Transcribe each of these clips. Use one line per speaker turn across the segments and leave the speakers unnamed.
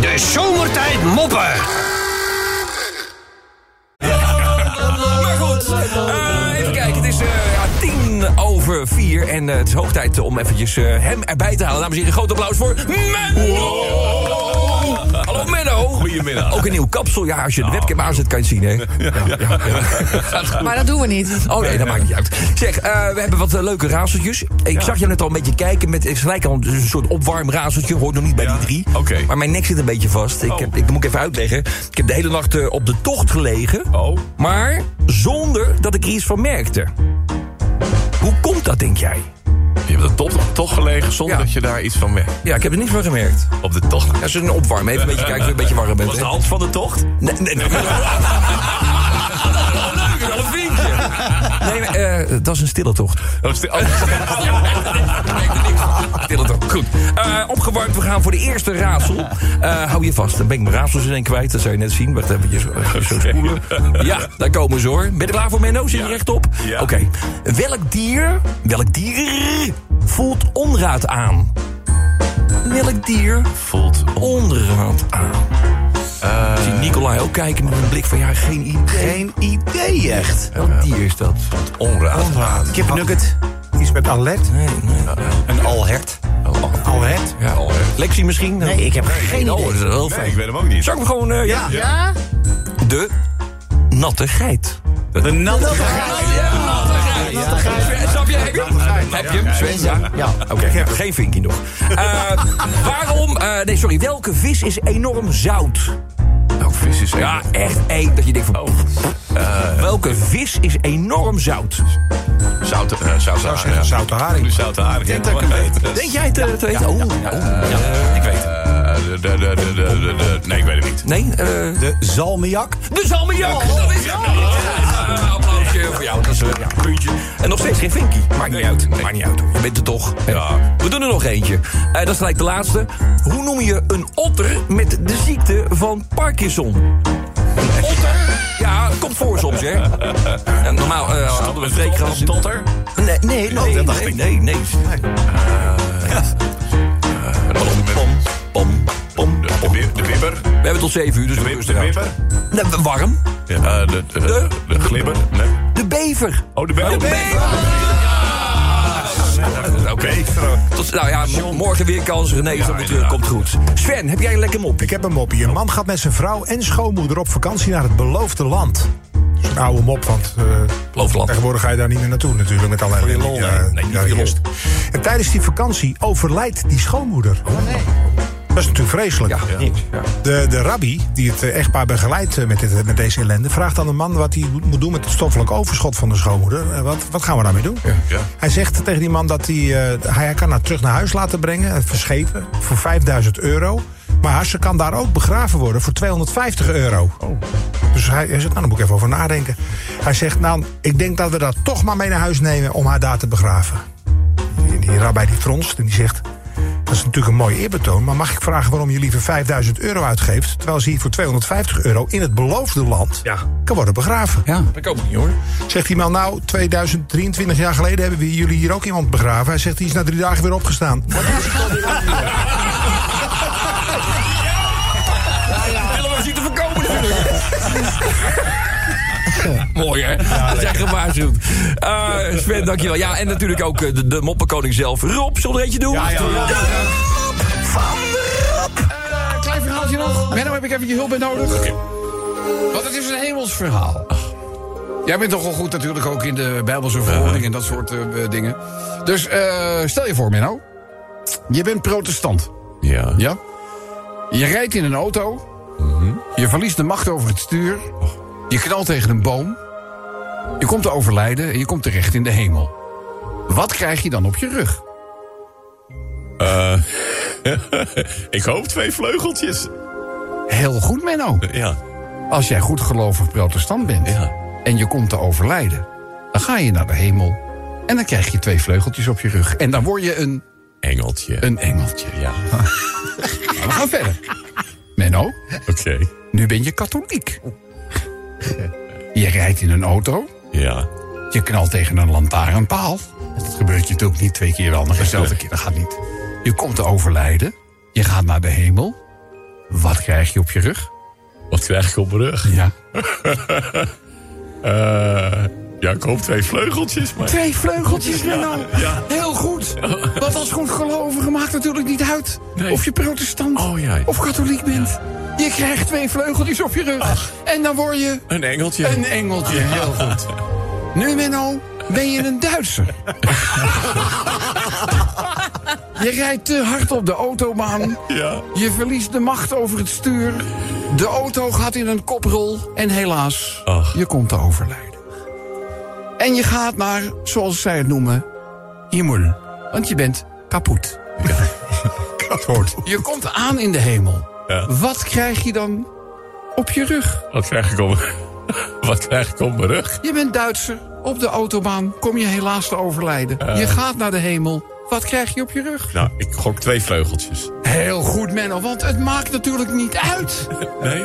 De zomertijd moppen.
Maar goed, eh, even kijken. Het is eh, ja, tien over vier. En eh, het is hoog tijd om eventjes eh, hem erbij te halen. Dames en heren, groot applaus voor Menno! Hallo Menno!
Goedemiddag.
Ook een nieuw kapsel. Ja, als je de webcam aanzet, kan je het zien, hè? Ja, ja, ja. Gaat goed.
Maar dat doen we niet.
Oh nee, dat maakt niet uit. Zeg, eh, we hebben wat eh, leuke razeltjes. Ik zag je net al een beetje kijken met het is gelijk al een, een soort opwarmrazeltje. Hoort nog niet bij die drie.
oké.
Maar mijn nek zit een beetje vast. Ik,
Oh.
heb, ik moet ik even uitleggen. Ik heb de hele nacht eh, op de tocht gelegen.
Oh.
Maar zonder dat ik er iets van merkte. Hoe komt dat, denk jij?
Je hebt dat toch, toch gelegen zonder
Ja.
dat je daar iets van weg.
Ja, ik heb er niks van gemerkt.
Op de tocht.
Ja, ze is een opwarm. Even een beetje kijken of je een beetje warm bent.
Was
hè.
de hand van de tocht?
Nee, nee. nee. Leuk, wel een vinkje. Nee, maar, eh, dat is een stille tocht.
Oh, sti- oh.
Stille tocht. Goed. Eh, opgewarmd, we gaan voor de eerste raadsel. Eh, hou je vast, dan ben ik mijn raadsels in één kwijt. Dat zou je net zien. Wacht eventjes. eh, Zo spoelen. Ja, daar komen ze hoor. Ben je er klaar voor, Menno? Zit je
Ja.
rechtop?
Ja.
Oké. Welk dier, welk dier voelt onraad aan? Welk dier
Voelt on-
onraad aan? Ik zie Nicolai ook kijken met een blik van ja, geen idee.
Eh, Geen idee echt.
Welk dier is dat?
onraad.
Kipnugget. Iets met alert.
Nee, nee.
Eh,
Oh,
Een alhert. Alhert?
Ja, al, eh, Lexi misschien?
Nee, ik heb geen
Oh,
idee.
dat is wel
Nee, ik
fijn.
weet hem ook niet.
Zal ik hem gewoon... eh, ja.
Ja?
De natte geit.
De natte
Natte geit. Snap je? Heb je hem? Heb je hem? Sven, ja?
Ja.
Oké, ik heb geen vinkje nog. Eh, waarom... eh, nee, sorry. Welke vis is enorm zout? Oh.
Ook Nou, vis is
Ja, echt één. Dat je denkt van... Eh, welke vis is enorm zout?
Zout, eh, zout,
Ah,
zou zeggen zoute haring.
Nu zout haring.
denk dat ik hem weet.
Denk jij het eh, te weten? Oh, oh.
ik weet het. de, de, de, de, de, de- nee, ik weet het niet.
Nee, eh...
De zalmiak.
Dus Almejak, dat is het. Eh, Applausje voor jou, dat is een ja, puntje. En nog steeds geen Vinky. Maakt niet
Nee,
uit,
nee.
maakt niet uit. hoor. Je bent er toch. Ja. We doen er nog eentje. Eh, dat is gelijk de laatste. Hoe noem je een otter met de ziekte van Parkinson? Een otter? Ja, komt voor soms, hè. En normaal eh, hadden we een
Een
spreekgras.
stotter?
Nee, nee, nee, nee, nee, nee, nee.
Een
Pom, pom, pom.
De, de, wib- de wibber?
We hebben tot 7 uur, dus
De,
we
wib-
rusten
de
uit.
wibber?
Nee, warm.
Ja, eh, de, de, de, de glibber? Nee.
De bever.
Oh, de bever.
De bever.
Oké.
Tot- nou ja, mo- morgen weer kans. René is
Ja,
dan weer terug.
inderdaad.
Komt goed. Sven, heb jij een lekker mop?
Ik heb een mopje. Een man gaat met zijn vrouw en schoonmoeder op vakantie naar het beloofde land. Dat is een oude mop, want eh,
Loofland.
tegenwoordig ga je daar niet meer naartoe natuurlijk. Met allerlei
Voor je lol,
Ja,
hè? Nee, niet
ja,
voor je lol.
juist. En tijdens die vakantie overlijdt die schoonmoeder. Dat is natuurlijk vreselijk.
Oh, Ja, niks. Ja.
De, de rabbi, die het eh, echtpaar begeleidt eh, met, dit, met deze ellende... vraagt aan de man wat hij moet- moet doen met het stoffelijk overschot van de schoonmoeder. Eh, Wat, wat gaan we daarmee doen?
Ja.
Hij zegt tegen die man dat hij, eh, hij, hij kan haar terug naar huis laten brengen... eh, verschepen, voor 5000 euro. Maar haar- ze kan daar ook begraven worden voor 250 euro. Dus hij, hij zegt, nou, dan moet ik even over nadenken. Hij zegt, nou, ik denk dat we dat toch maar mee naar huis nemen... om haar daar te begraven. Die, die rabbi die fronst en die zegt... Dat is natuurlijk een mooi eerbetoon, maar mag ik vragen waarom je liever 5000 euro uitgeeft... terwijl ze hier voor 250 euro in het beloofde land
Ja.
kan worden begraven?
Dat kan ook niet, hoor.
Zegt die man, nou, 2023 jaar geleden hebben we jullie hier ook iemand begraven. Hij zegt, die is na drie dagen weer opgestaan.
Willen we zien te voorkomen natuurlijk. Mooi, hè? dat is echt gewaarschuwd. Eh Sven, dankjewel. Ja, en natuurlijk ook eh, de, de moppenkoning zelf. Rob, zullen we er eentje doen?
Eh, klein verhaaltje nog. Menno, heb ik even je hulp bij nodig? Want het is een hemels verhaal. Jij bent toch wel goed natuurlijk ook in de Bijbelse verhouding en dat soort eh, eh, dingen. Dus eh, stel je voor, Menno. Je bent protestant,
Ja.
ja? Je rijdt in een auto. Je verliest de macht over het stuur. Je knalt tegen een boom. Je komt te overlijden en je komt terecht in de hemel. Wat krijg je dan op je rug?
Eh, ik hoop twee vleugeltjes.
Heel goed, Menno.
Ja.
Als jij goedgelovig protestant bent
Ja.
en je komt te overlijden, dan ga je naar de hemel en dan krijg je twee vleugeltjes op je rug. En dan word je een,
Engeltje.
een engeltje.
Ja.
Maar we gaan verder. Menno,
Oké.
nu ben je katholiek. Je rijdt in een auto,
Ja.
je knalt tegen een lantaarnpaal. Dat gebeurt je natuurlijk niet twee keer wel, maar dezelfde keer, dat gaat niet. Je komt te overlijden, je gaat naar de hemel. Wat krijg je op je rug?
Wat krijg ik op mijn rug?
Ja.
Eh, ja, ik hoop twee vleugeltjes, maar...
Twee vleugeltjes, Menno.
ja.
Heel goed. Want als goed gelovige maakt natuurlijk niet uit...
Nee.
of je protestant
Oh, ja.
of katholiek bent. Je krijgt twee vleugeltjes op je rug. En dan word je
Een e- engeltje.
een engeltje. Heel goed. Nu, Menno, ben je een Duitser. Je rijdt te hard op de autobaan.
Ja.
Je verliest de macht over het stuur. De auto gaat in een koprol. En helaas,
Ach.
je komt te overlijden. En je gaat naar, zoals zij het noemen, hemel. Want je bent kapot. Je komt aan in de hemel.
Ja.
Wat krijg je dan op je rug?
Wat krijg ik op... Wat krijg ik op mijn rug?
Je bent Duitser. Op de autobaan kom je helaas te overlijden. Je gaat naar de hemel. Wat krijg je op je rug?
Nou, ik gok twee vleugeltjes.
Heel goed, Menno, want het maakt natuurlijk niet uit.
Nee?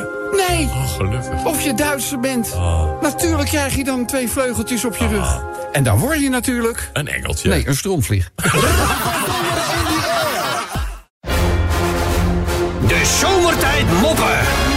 Nee,
Oh, gelukkig.
of je Duitser bent.
Ah.
Natuurlijk krijg je dan twee vleugeltjes op je rug. En dan word je natuurlijk...
Een engeltje.
Nee, een stroomvlieg.
De zomertijd moppen.